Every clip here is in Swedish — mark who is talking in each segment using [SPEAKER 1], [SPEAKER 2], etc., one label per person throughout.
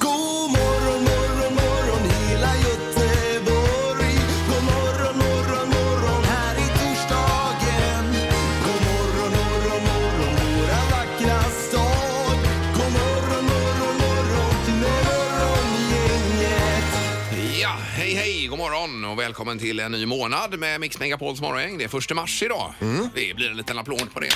[SPEAKER 1] God morgon morgon morgon hela Göteborg. God morgon morgon morgon här i torsdagen. God morgon morgon morgon våra vackra stad. God morgon morgon morgon med morgongänget.
[SPEAKER 2] Ja, hej hej, god morgon och välkommen till en ny månad med Mix Megapols morgongäng. Det är första mars idag.
[SPEAKER 3] Mm.
[SPEAKER 2] Det blir en liten applåd på det.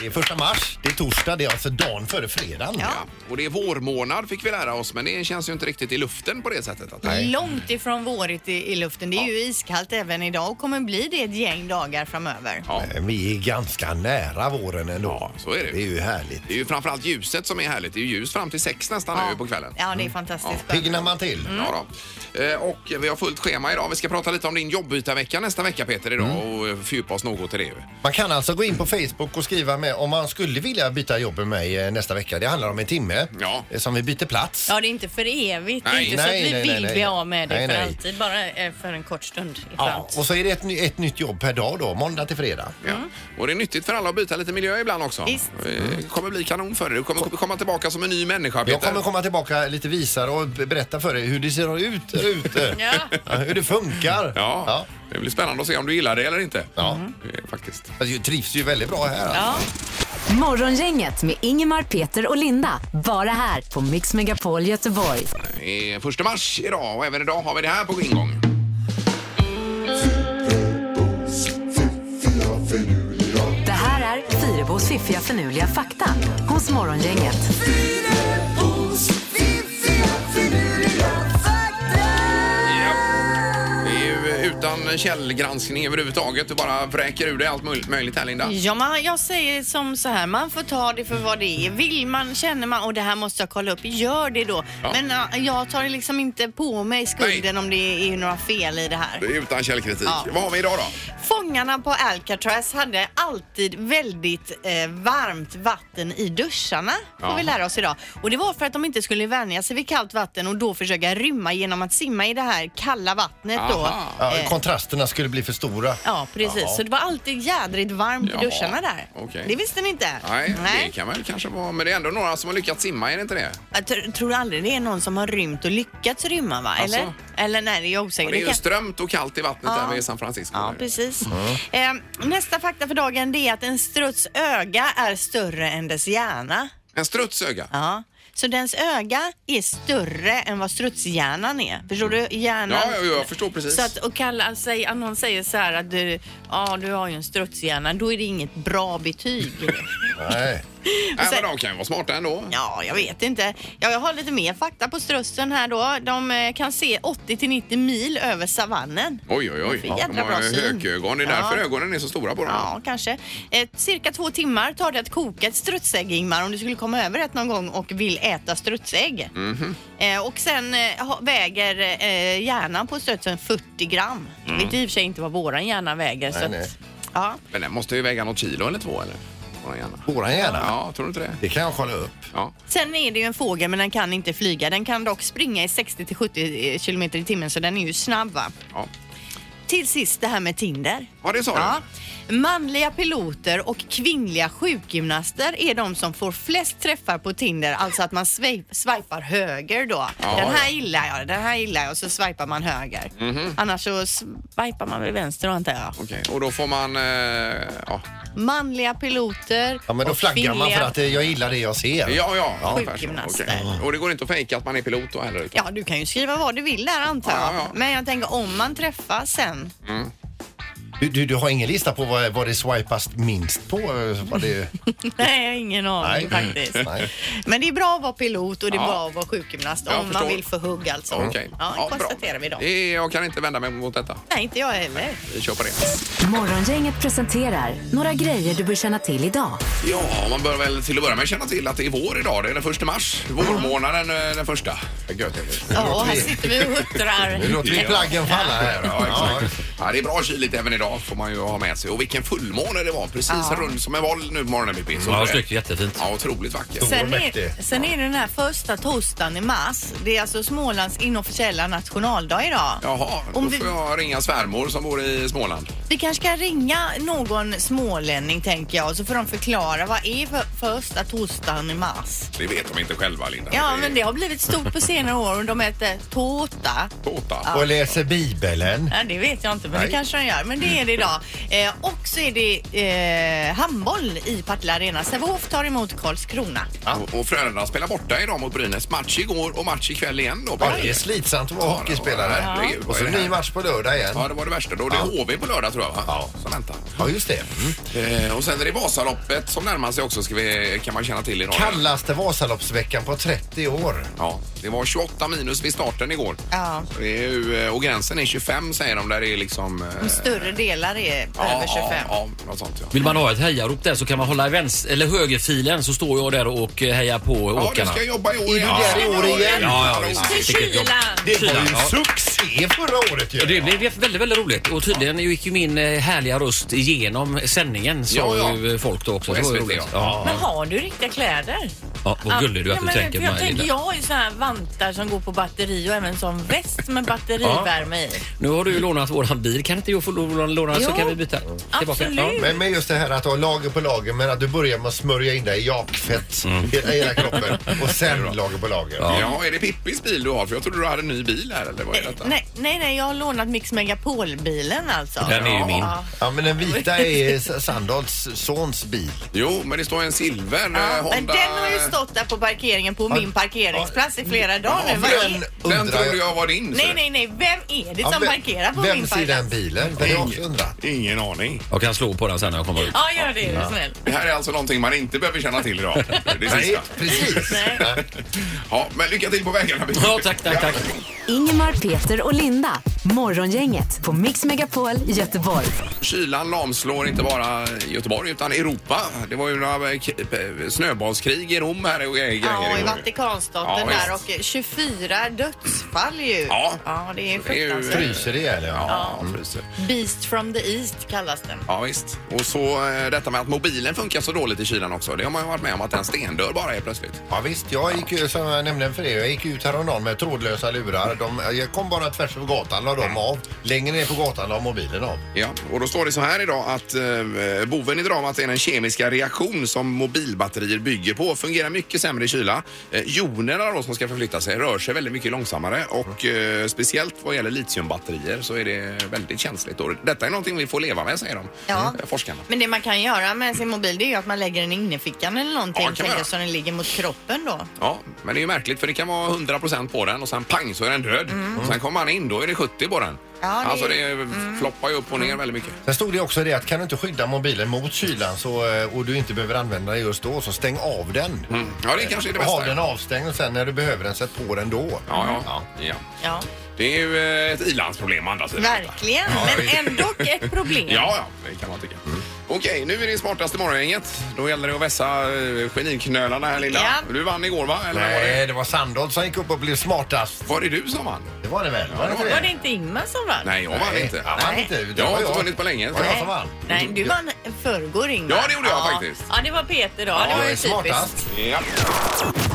[SPEAKER 4] Det är första mars, det är torsdag, det är alltså dagen före fredagen.
[SPEAKER 2] Ja. Och det är vårmånad fick vi lära oss, men det känns ju inte riktigt i luften på det sättet. Att det
[SPEAKER 3] Långt ifrån vårigt i, i luften. Det är ju iskallt även idag och kommer bli det ett gäng dagar framöver.
[SPEAKER 2] Ja.
[SPEAKER 4] Men Vi är ganska nära våren ändå.
[SPEAKER 2] Ja, så är det.
[SPEAKER 4] Det är ju härligt.
[SPEAKER 2] det är ju framförallt ljuset som är härligt. Det är ju ljus fram till sex nästan nu på kvällen.
[SPEAKER 3] Ja,
[SPEAKER 4] Mm.
[SPEAKER 3] Mm. det är fantastiskt skönt.
[SPEAKER 4] Piggnar man till.
[SPEAKER 2] Ja, då. Eh, Och vi har fullt schema idag. Vi ska prata lite om din jobbytarvecka nästa vecka Peter idag
[SPEAKER 3] Mm.
[SPEAKER 2] och eh, fördjupa oss något i det. ju.
[SPEAKER 4] Man kan alltså gå in på Facebook och skriva med om man skulle vilja byta jobb med mig eh, nästa vecka. Det handlar om en timme
[SPEAKER 2] Ja.
[SPEAKER 4] eh, som vi byter plats.
[SPEAKER 3] Ja, det är inte för evigt.
[SPEAKER 2] Nej,
[SPEAKER 3] det är inte så
[SPEAKER 4] nej,
[SPEAKER 3] att vi
[SPEAKER 4] nej,
[SPEAKER 3] vill
[SPEAKER 4] nej, nej.
[SPEAKER 3] bli av med det
[SPEAKER 4] Nej,
[SPEAKER 3] för
[SPEAKER 4] nej.
[SPEAKER 3] alltid. Bara eh, för en kort stund. Det är
[SPEAKER 4] Ja,
[SPEAKER 3] skönt.
[SPEAKER 4] och så är det ett, ny, ett nytt jobb per dag då, måndag till fredag.
[SPEAKER 2] Ja. Och det är nyttigt för alla att byta lite miljö ibland också.
[SPEAKER 3] Visst.
[SPEAKER 2] Det kommer bli kanon för dig. Du kommer komma tillbaka som en ny människa Peter.
[SPEAKER 4] Jag kommer komma tillbaka lite visare och b- berätta för dig hur det ser ut där ute.
[SPEAKER 3] Ja.
[SPEAKER 4] Ja, Hur det funkar.
[SPEAKER 2] Ja,
[SPEAKER 4] Ja.
[SPEAKER 2] det blir spännande att se om du gillar det eller inte.
[SPEAKER 4] Ja.
[SPEAKER 2] Eh, Faktiskt.
[SPEAKER 4] Jag Alltså, trivs ju väldigt bra här. alltså.
[SPEAKER 3] Ja.
[SPEAKER 5] Morgongänget med Ingemar, Peter och Linda. Bara här på Mix Megapol Göteborg.
[SPEAKER 2] Det är första mars idag och även idag har vi det här på ingång.
[SPEAKER 5] Det här är Fyrabos fiffiga förnuliga fakta hos Morgongänget.
[SPEAKER 2] Ja. Det är ju utan källgranskning överhuvudtaget. Du bara vräker ur dig allt möj- möjligt här Linda.
[SPEAKER 3] Ja, man, jag säger som så här, man får ta det för vad det är. Vill man, känner man och det här måste jag kolla upp, gör det då.
[SPEAKER 2] Ja.
[SPEAKER 3] Men ja, jag tar liksom inte på mig skulden om det är några fel i det här.
[SPEAKER 2] Det är utan källkritik.
[SPEAKER 3] Ja.
[SPEAKER 2] Vad har vi idag då?
[SPEAKER 3] Fångarna på Alcatraz hade alltid väldigt eh, varmt vatten i duscharna, får
[SPEAKER 2] Jaha.
[SPEAKER 3] vi lära oss idag. Och det var för att de inte skulle vänja sig vid kallt vatten och då försöka rymma genom att simma i det här kalla vattnet då.
[SPEAKER 2] Aha.
[SPEAKER 4] Ja,
[SPEAKER 3] Eh,
[SPEAKER 4] kontrasterna skulle bli för stora.
[SPEAKER 3] Ja, precis. Så det var alltid jädrigt varmt
[SPEAKER 2] Jaha.
[SPEAKER 3] i duscharna där.
[SPEAKER 2] Okej.
[SPEAKER 3] Det visste ni inte?
[SPEAKER 2] Nej, det kan väl kanske vara. Men det är ändå några som har lyckats simma, är det inte det?
[SPEAKER 3] Jag tr- tror aldrig det är någon som har rymt och lyckats rymma, va?
[SPEAKER 2] Alltså.
[SPEAKER 3] Eller? Eller nej, det är jag osäker.
[SPEAKER 2] Det är
[SPEAKER 3] Det
[SPEAKER 2] ju
[SPEAKER 3] kan-
[SPEAKER 2] strömt och kallt i vattnet där vid San Francisco.
[SPEAKER 3] Ja,
[SPEAKER 2] där.
[SPEAKER 3] precis. Eh, nästa fakta för dagen det är att en struts öga är större än dess hjärna.
[SPEAKER 2] En strutsöga.
[SPEAKER 3] Ja. Så dens öga är större än vad strutshjärnan är. Förstår du? Hjärnan...
[SPEAKER 2] Ja, ja, ja, jag förstår precis.
[SPEAKER 3] Så att och kalla sig, om någon säger så här att du, ja, du har ju en strutshjärna, då är det inget bra betyg.
[SPEAKER 4] Nej.
[SPEAKER 2] Nej,
[SPEAKER 3] sen-
[SPEAKER 2] men de kan ju vara smarta ändå.
[SPEAKER 3] ja, jag vet inte. Ja, jag har lite mer fakta på strutsen här då. De eh, kan se 80 till 90 mil över savannen.
[SPEAKER 2] Oj, oj, oj.
[SPEAKER 3] För
[SPEAKER 2] De
[SPEAKER 3] jädra
[SPEAKER 2] har
[SPEAKER 3] bra
[SPEAKER 2] ju
[SPEAKER 3] syn.
[SPEAKER 2] hökögon. Det är
[SPEAKER 3] Ja.
[SPEAKER 2] därför ögonen är så stora på dem.
[SPEAKER 3] Ja, kanske. Eh, cirka två timmar tar det att koka ett strutsägg, Ingmar, om du skulle komma över ett någon gång och vill äta strutsägg.
[SPEAKER 4] Mhm.
[SPEAKER 3] Eh, och sen eh, ha- väger eh, hjärnan på strutsen 40 gram. Jag vet i och för sig inte vad våran hjärna väger. så att,
[SPEAKER 4] Mm. nej.
[SPEAKER 3] Ja.
[SPEAKER 2] Men den måste ju väga något kilo eller två eller? Våran hjärna.
[SPEAKER 4] Våran hjärna.
[SPEAKER 2] Ja, tror du inte det?
[SPEAKER 4] Det kan jag kolla upp.
[SPEAKER 2] Ja.
[SPEAKER 3] Sen är det ju en fågel, men den kan inte flyga. Den kan dock springa i 60 till 70 kilometer i timmen, så den är ju snabb. Va?
[SPEAKER 2] Ja,
[SPEAKER 3] Till sist det här med Tinder.
[SPEAKER 2] ja det sa
[SPEAKER 3] Ja.
[SPEAKER 2] du.
[SPEAKER 3] Manliga piloter och kvinnliga sjukgymnaster är de som får flest träffar på Tinder, alltså att man swi- swipar höger då.
[SPEAKER 2] Ja,
[SPEAKER 3] den här
[SPEAKER 2] ja. Mhm.
[SPEAKER 3] gillar jag, den här gillar jag och så swipar man höger. Annars så swipar man väl vänster då, antar jag.
[SPEAKER 2] Okej, och då får man... Eh, ja,
[SPEAKER 3] Manliga piloter
[SPEAKER 4] Ja, men då
[SPEAKER 3] och
[SPEAKER 4] flaggar man
[SPEAKER 3] kvinnliga-
[SPEAKER 4] för att eh, jag gillar det jag ser.
[SPEAKER 2] ja. ja,
[SPEAKER 3] Ja.
[SPEAKER 2] ungefär så.
[SPEAKER 3] Sjukgymnaster.
[SPEAKER 2] Okej. Och det går inte att fejka att man är pilot då heller? utan-
[SPEAKER 3] Ja, du kan ju skriva vad du vill där antar jag.
[SPEAKER 2] Ja, ja.
[SPEAKER 3] Men jag tänker om man träffas sen.
[SPEAKER 4] Du, du, du har ingen lista på vad, vad det swipas minst på? eh, Vad det,
[SPEAKER 3] Nej, jag har ingen aning
[SPEAKER 4] Nej.
[SPEAKER 3] faktiskt.
[SPEAKER 4] Nej.
[SPEAKER 3] Men det är bra att vara pilot och det är
[SPEAKER 2] Ja.
[SPEAKER 3] bra att vara sjukgymnast
[SPEAKER 2] Jag
[SPEAKER 3] om
[SPEAKER 2] förstår.
[SPEAKER 3] man vill få hugg alltså.
[SPEAKER 2] Okej.
[SPEAKER 3] Ja, det
[SPEAKER 2] bra.
[SPEAKER 3] konstaterar vi då.
[SPEAKER 2] Eh, Jag kan inte vända mig mot detta.
[SPEAKER 3] Nej, inte jag heller.
[SPEAKER 2] Vi kör på det.
[SPEAKER 5] Morgongänget presenterar några grejer du bör känna till idag.
[SPEAKER 2] Ja, man bör väl till att börja med känna till att det är vår idag. Det är den första mars. Vårmånaden eh, den första. Gött.
[SPEAKER 3] Ja, och här sitter vi och huttrar.
[SPEAKER 4] nu låter vi
[SPEAKER 2] Ja.
[SPEAKER 4] plaggen falla här.
[SPEAKER 2] Ja, exakt. Ja, det är bra kyligt även idag. Ja, får man ju ha med sig. Och vilken fullmåne det var. Precis rund som en boll nu på morgonen, Pippi. Så
[SPEAKER 6] Ja,
[SPEAKER 2] det-
[SPEAKER 6] det slutar jättefint.
[SPEAKER 2] Ja, otroligt vackert.
[SPEAKER 3] Sen
[SPEAKER 4] mäktig.
[SPEAKER 3] är, sen är det den här första torsdagen i mars. Det är alltså Smålands inofficiella nationaldag idag.
[SPEAKER 2] Jaha, då
[SPEAKER 3] Om vi-
[SPEAKER 2] får jag ringa svärmor som bor i Småland.
[SPEAKER 3] Vi kanske kan ringa någon smålänning tänker jag och så får de förklara vad är för, första torsdagen i mars.
[SPEAKER 2] Det vet de inte själva, Linda.
[SPEAKER 3] Ja, men det har blivit stort på senare år och de äter tårta.
[SPEAKER 2] Tårta.
[SPEAKER 4] Och läser Bibeln.
[SPEAKER 3] Nej, det vet jag inte, men
[SPEAKER 4] Nej.
[SPEAKER 3] det kanske de gör. Men det är det idag. Eh, och så är det eh, handboll i Partille Arena. Sävehof tar emot Karlskrona.
[SPEAKER 2] Och, och Frölunda spelar borta idag mot Brynäs. Match igår och match ikväll igen då.
[SPEAKER 4] Ja, det är slitsamt att vara hockeyspelare.
[SPEAKER 2] Herregud,
[SPEAKER 4] Och
[SPEAKER 2] vad
[SPEAKER 4] så
[SPEAKER 2] är det här?
[SPEAKER 4] ny match på lördag
[SPEAKER 2] Ja,
[SPEAKER 4] igen.
[SPEAKER 2] det var det värsta. Då det är HV på lördag tror jag va?
[SPEAKER 4] Ja.
[SPEAKER 2] Som väntar.
[SPEAKER 4] Ja, just det. Mm.
[SPEAKER 2] Eh, och sen är det Vasaloppet som närmar sig också ska vi, kan man känna till idag.
[SPEAKER 4] Kallaste Vasaloppsveckan på 30 år.
[SPEAKER 2] Ja, det var 28 minus vid starten igår.
[SPEAKER 3] Ja.
[SPEAKER 2] Så Det är ju, eh, och gränsen är 25 säger de där det är liksom... eh,
[SPEAKER 3] Större delar är
[SPEAKER 2] ja,
[SPEAKER 3] över 25.
[SPEAKER 2] Ja, ja, något sånt ja.
[SPEAKER 6] Vill man ha ett hejarop där så kan man hålla vänster, eller högerfilen så står jag där och eh, hejar på
[SPEAKER 2] Ja, du
[SPEAKER 6] åkarna.
[SPEAKER 2] ska jobba i år
[SPEAKER 4] du där i år igen?
[SPEAKER 6] Ja, ja, visst.
[SPEAKER 2] Hallå.
[SPEAKER 6] Vilket jobb.
[SPEAKER 4] Det var
[SPEAKER 6] Kylan,
[SPEAKER 4] ju
[SPEAKER 6] ja.
[SPEAKER 4] succé förra året ju.
[SPEAKER 6] Ja, Det blev väldigt, väldigt roligt och tydligen gick ju min eh, härliga röst igenom sändningen sa
[SPEAKER 2] Ja, ja.
[SPEAKER 6] ju folk då också.
[SPEAKER 2] På
[SPEAKER 6] Det var ju
[SPEAKER 2] SVT,
[SPEAKER 6] roligt.
[SPEAKER 2] ja.
[SPEAKER 6] Ja.
[SPEAKER 7] Men har du riktiga kläder?
[SPEAKER 6] Ja, vad gullig du är att du
[SPEAKER 7] men
[SPEAKER 6] tänker
[SPEAKER 7] för
[SPEAKER 6] på
[SPEAKER 7] jag
[SPEAKER 6] mig,
[SPEAKER 7] tänker,
[SPEAKER 6] Linda.
[SPEAKER 7] Jag har ju så här vantar som går på batteri och även sån väst med batterivärme i.
[SPEAKER 6] Nu har du ju lånat våran bil. Kan inte jag få låna låna den så
[SPEAKER 7] Jo,
[SPEAKER 6] kan vi byta tillbaka?
[SPEAKER 7] absolut.
[SPEAKER 4] Men, men just det här att ha lager på lager men att du börjar med att smörja in dig i jakfett hela, hela kroppen och sen lager på lager.
[SPEAKER 2] Ja, är det Pippis bil du har? För jag trodde du hade en ny bil här eller vad är detta?
[SPEAKER 3] Nej, nej, nej, jag har lånat Mix Megapol-bilen alltså.
[SPEAKER 6] Den är ju min.
[SPEAKER 3] Ja.
[SPEAKER 4] Ja men den vita är S- Sandahls sons bil.
[SPEAKER 2] Jo, men det står en silver eh,
[SPEAKER 3] Ja,
[SPEAKER 2] Honda...
[SPEAKER 3] men den har ju stått där på parkeringen på min parkeringsplats i flera dagar
[SPEAKER 4] för
[SPEAKER 3] nu. Vad är-
[SPEAKER 4] den-
[SPEAKER 2] Den
[SPEAKER 4] Undrar jag-
[SPEAKER 2] trodde jag var din. så-
[SPEAKER 3] Nej, nej, nej. Vem är det
[SPEAKER 4] Ja,
[SPEAKER 3] som
[SPEAKER 4] vem-
[SPEAKER 3] parkerar på min
[SPEAKER 4] Vem ser den
[SPEAKER 3] parkeringsplats?
[SPEAKER 4] bilen? Det har jag också undrat.
[SPEAKER 2] Ingen aning.
[SPEAKER 6] Jag kan slå på den sen när jag kommer ut.
[SPEAKER 7] Ja, gör det är du snäll.
[SPEAKER 2] Det här är alltså någonting man inte behöver känna till idag. Det
[SPEAKER 4] Nej,
[SPEAKER 2] sista.
[SPEAKER 4] precis. Nej.
[SPEAKER 2] Ja, men lycka till på vägarna. Bill.
[SPEAKER 6] Ja, tack, tack, tack.
[SPEAKER 5] Ingemar, Peter och Linda. Morgongänget på Mix Megapol Göteborg.
[SPEAKER 2] Kylan lamslår inte bara Göteborg utan Europa. Det var ju några eh, k- eh, snöbollskrig i Rom här och grejer.
[SPEAKER 3] Ja, i
[SPEAKER 2] igår.
[SPEAKER 3] Vatikanstaten
[SPEAKER 2] Ja,
[SPEAKER 3] där och 24 dödsfall ju.
[SPEAKER 2] Ja.
[SPEAKER 3] det är
[SPEAKER 2] Det är ju-
[SPEAKER 3] fruktansvärt.
[SPEAKER 4] Fryser ihjäl ja.
[SPEAKER 2] Ja, fryser.
[SPEAKER 3] Beast from the East kallas den.
[SPEAKER 2] Ja, visst. Och så eh, detta med att mobilen funkar så dåligt i kylan också. Det har man ju varit med om att den stendör bara helt plötsligt.
[SPEAKER 4] Ja visst, jag gick ju som jag nämnde för er, jag gick ut häromdagen med trådlösa lurar. De, jag kom bara tvärs över gatan la dem av. Längre ner på gatan la mobilen av.
[SPEAKER 2] Ja, och då står det så här idag att eh, boven i dramat är den kemiska reaktion som mobilbatterier bygger på. Fungerar mycket sämre i kyla. Eh, jonerna då som ska förflytta sig rör sig väldigt mycket långsammare och eh, speciellt vad gäller litiumbatterier så är det väldigt känsligt. Och detta är någonting vi får leva med säger de,
[SPEAKER 3] Ja.
[SPEAKER 2] eh, forskarna.
[SPEAKER 3] Men det man kan göra med sin mobil det är ju att man lägger den i innerfickan eller någonting
[SPEAKER 2] Ja, det kan
[SPEAKER 3] tänker
[SPEAKER 2] man göra.
[SPEAKER 3] jag, så den ligger mot kroppen då.
[SPEAKER 2] Ja, men det är ju märkligt för det kan vara 100% på den och sen pang så är den död. Och sen kommer man in, då är det 70 på den.
[SPEAKER 3] Mm. Ja, det- mm.
[SPEAKER 2] Alltså det floppar ju upp och ner väldigt mycket.
[SPEAKER 4] Sen stod det också det att kan du inte skydda mobilen mot kylan så, eh, och du inte behöver använda den just då så stäng av den.
[SPEAKER 2] Mm. Ja, det kanske är det
[SPEAKER 4] Och Ha
[SPEAKER 2] bästa.
[SPEAKER 4] den avstängd och sen när du behöver den sätt på den då.
[SPEAKER 2] Ja, ja. ja.
[SPEAKER 3] Ja,
[SPEAKER 2] Det är ju eh, ett i-landsproblem å andra sidan.
[SPEAKER 3] verkligen. Men ändå ett problem.
[SPEAKER 2] Ja, ja, det kan man tycka. Mm. Okej, nu är det smartaste morgongänget. Då gäller det att vässa eh, geniknölarna här Linda.
[SPEAKER 3] Ja.
[SPEAKER 2] Du vann igår va? Eller vad var, det?
[SPEAKER 4] Nej, det var Sandahl som gick upp och blev smartast.
[SPEAKER 2] var det du som vann?
[SPEAKER 4] Det var det väl? Var det inte
[SPEAKER 7] Var det inte Ingmar som vann?
[SPEAKER 2] Nej, jag vann
[SPEAKER 4] Nej,
[SPEAKER 2] inte.
[SPEAKER 4] Han vann inte. Det
[SPEAKER 2] Jag
[SPEAKER 4] var
[SPEAKER 2] har inte vunnit på länge.
[SPEAKER 4] Det var jag som vann.
[SPEAKER 3] Nej, du vann förrgår Ingmar.
[SPEAKER 2] Ja, det gjorde jag faktiskt.
[SPEAKER 7] Ja, det var Peter då. det var
[SPEAKER 4] Jag
[SPEAKER 7] ju
[SPEAKER 4] är
[SPEAKER 7] typiskt.
[SPEAKER 4] smartast.
[SPEAKER 2] Ja.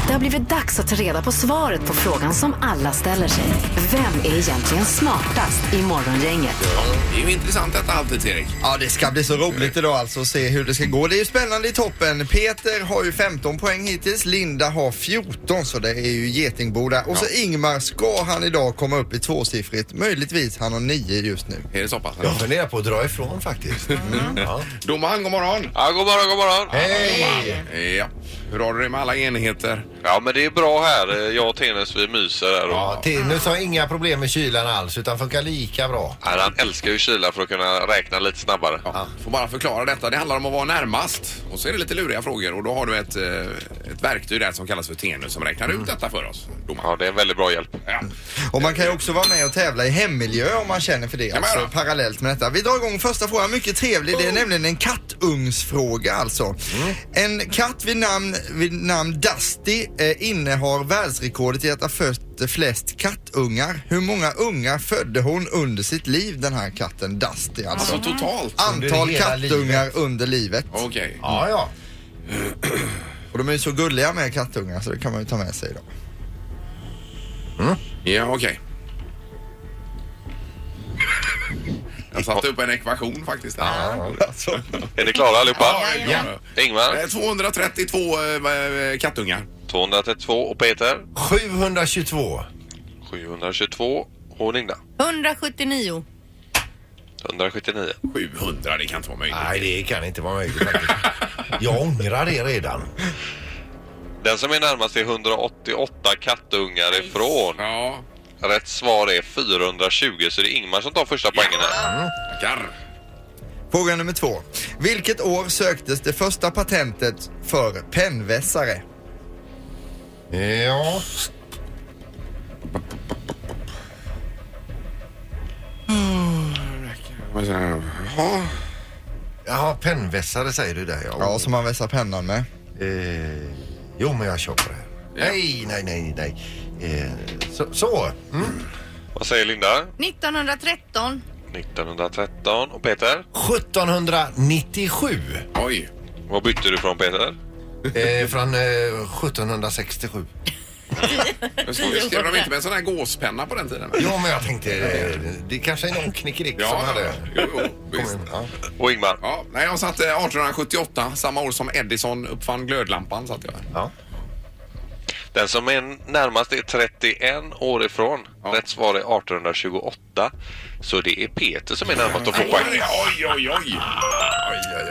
[SPEAKER 5] Det har blivit dags att ta reda på svaret på frågan som alla ställer sig. Vem är egentligen smartast i Morgongänget?
[SPEAKER 2] Det är ju intressant detta alltid, Erik.
[SPEAKER 1] Ja, det ska bli så roligt idag alltså att se hur det ska gå. Det är ju spännande i toppen. Peter har ju 15 poäng hittills, Linda har 14 så det är ju getingboda. Och så Ingmar, ska han idag komma upp i tvåsiffrigt? Möjligtvis, han har 9 just nu.
[SPEAKER 2] Är det så pass?
[SPEAKER 4] Jag funderar på att dra ifrån faktiskt. Ja.
[SPEAKER 2] Domaren, god morgon.
[SPEAKER 8] Ja, god morgon, god morgon.
[SPEAKER 4] Hej!
[SPEAKER 2] Ja. Hur har du det med alla enheter?
[SPEAKER 8] Ja, men det är bra här. Eh, Jag och Tenus, vi myser här. Och...
[SPEAKER 4] Ja, Tinus har inga problem med kylan alls utan funkar lika bra.
[SPEAKER 8] Nej, Han älskar ju kyla för att kunna räkna lite snabbare.
[SPEAKER 2] Ja. Får bara förklara detta. Det handlar om att vara närmast. Och så är det lite luriga frågor. Och då har du ett, eh, ett verktyg där som kallas för Tenus som räknar ut detta för oss.
[SPEAKER 8] Mm.
[SPEAKER 2] Domaren.
[SPEAKER 8] Ja, det är en väldigt bra hjälp.
[SPEAKER 2] Ja.
[SPEAKER 1] Och man kan ju också vara med och tävla i hemmiljö om man känner för det.
[SPEAKER 2] men
[SPEAKER 1] Alltså
[SPEAKER 2] då.
[SPEAKER 1] parallellt med detta. Vi drar igång första frågan, mycket trevlig. Det är nämligen en kattungsfråga alltså. En katt vid namn, vid namn Dusty eh, innehar världsrekordet i att ha fött dotter flest kattungar. Hur många ungar födde hon under sitt liv, den här katten Dusty alltså?
[SPEAKER 2] Alltså totalt?
[SPEAKER 1] Antal kattungar under livet.
[SPEAKER 2] Okej.
[SPEAKER 4] Ja, ja.
[SPEAKER 1] Och de är ju så gulliga med kattungar så det kan man ju ta med sig då.
[SPEAKER 2] Ja, okej. Jag satte upp en ekvation faktiskt. Där.
[SPEAKER 1] Alltså,
[SPEAKER 8] Är ni klara allihopa?
[SPEAKER 2] Ja, ja.
[SPEAKER 8] Ingmar,
[SPEAKER 2] Eh, 232 eh, kattungar.
[SPEAKER 8] 232 och Peter,
[SPEAKER 4] 722.
[SPEAKER 8] 722 och Linda,
[SPEAKER 3] 179.
[SPEAKER 8] 179.
[SPEAKER 2] 700, det kan inte vara möjligt.
[SPEAKER 4] Nej, det kan inte vara möjligt. faktiskt. Jag ångrar det redan.
[SPEAKER 8] Den som är närmast är 188 kattungar ifrån.
[SPEAKER 2] Ja,
[SPEAKER 8] Rätt svar är 420 så det är Ingmar som tar första poängen här.
[SPEAKER 2] tackar.
[SPEAKER 1] Fråga nummer två. Vilket år söktes det första patentet för pennvässare?
[SPEAKER 4] Ja.
[SPEAKER 2] Jaha.
[SPEAKER 4] Jaha, pennvässare säger du där ja.
[SPEAKER 1] Ja, som man vässar pennan med.
[SPEAKER 4] Eh, jo, men jag kör på det. här. Nej, nej, nej, nej. Eh, så. så. Mm.
[SPEAKER 8] Vad säger Linda?
[SPEAKER 3] 1913.
[SPEAKER 8] 1913 och Peter?
[SPEAKER 4] 1797.
[SPEAKER 2] Oj.
[SPEAKER 8] Vad bytte du från Peter?
[SPEAKER 4] Eh, från eh, 1767.
[SPEAKER 2] Skrev de inte med en sån här gåspenna på den tiden?
[SPEAKER 4] Jo, men jag tänkte eh, det kanske är någon knickedick som
[SPEAKER 2] Ja,
[SPEAKER 4] hade...
[SPEAKER 2] jo, jo,
[SPEAKER 4] Kom
[SPEAKER 2] visst.
[SPEAKER 4] in, Ja.
[SPEAKER 8] Och Ingmar?
[SPEAKER 2] Ja, nej, jag satt eh, 1878, samma år som Edison uppfann glödlampan. Satt jag.
[SPEAKER 4] Ja.
[SPEAKER 8] Den som är närmast är 31 år ifrån.
[SPEAKER 2] Ja.
[SPEAKER 8] Rätt svar är 1828. Så det är Peter som är närmast att få poäng.
[SPEAKER 2] Oj, oj, oj.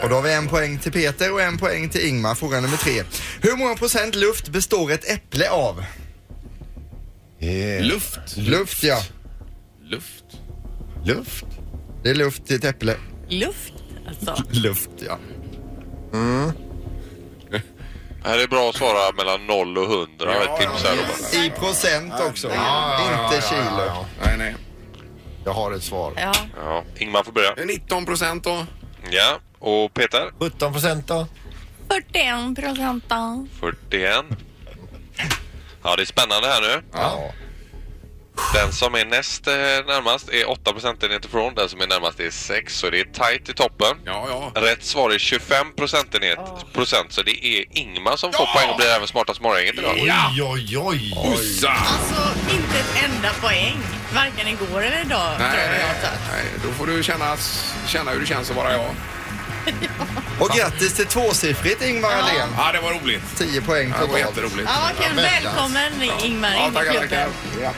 [SPEAKER 1] Och då har vi en poäng till Peter och en poäng till Ingmar. Fråga nummer tre. Hur många procent luft består ett äpple av?
[SPEAKER 4] Eh,
[SPEAKER 2] Luft.
[SPEAKER 1] Luft, ja.
[SPEAKER 2] Luft.
[SPEAKER 4] luft.
[SPEAKER 1] Det är luft till ett äpple.
[SPEAKER 7] Luft alltså.
[SPEAKER 1] Luft, ja.
[SPEAKER 8] Här är bra att svara mellan 0 och 100.
[SPEAKER 2] Ja,
[SPEAKER 8] Ett tips
[SPEAKER 2] ja,
[SPEAKER 8] här.
[SPEAKER 2] ja.
[SPEAKER 8] Robert.
[SPEAKER 1] I procent också. Inte kilo.
[SPEAKER 2] Nej, nej.
[SPEAKER 4] Jag har ett svar.
[SPEAKER 7] Ja.
[SPEAKER 8] Ja. Ingmar får börja.
[SPEAKER 2] 19 procent då.
[SPEAKER 8] Ja. Och Peter?
[SPEAKER 4] 17 procent då?
[SPEAKER 7] 41 procent. då.
[SPEAKER 8] 41. Ja, det är spännande här nu.
[SPEAKER 4] Ja.
[SPEAKER 8] Den som är näst eh, närmast är 8 procentenheter ifrån. Den som är närmast är 6, så det är tajt i toppen.
[SPEAKER 2] Ja, ja.
[SPEAKER 8] Rätt svar är 25 procentenhet, procent, så det är Ingmar som får poäng och blir även smartast morgongänget idag.
[SPEAKER 4] Oj, oj, oj.
[SPEAKER 2] Hussa!
[SPEAKER 3] Alltså inte ett enda poäng. Varken igår eller idag tror
[SPEAKER 2] Nej,
[SPEAKER 3] jag jag
[SPEAKER 2] nej,
[SPEAKER 3] har tagit.
[SPEAKER 2] nej, då får du känna, känna hur det känns att vara jag.
[SPEAKER 1] Och grattis till tvåsiffrigt Ingmar Ahlén.
[SPEAKER 2] Ja, det var roligt.
[SPEAKER 1] 10 poäng
[SPEAKER 2] Det var
[SPEAKER 1] totalt.
[SPEAKER 2] jätteroligt.
[SPEAKER 3] Ja, vad kul. Välkommen Ingmar
[SPEAKER 2] alltså. Ja,
[SPEAKER 3] in i
[SPEAKER 2] tackar, tackar.
[SPEAKER 3] klubben.
[SPEAKER 2] Ja.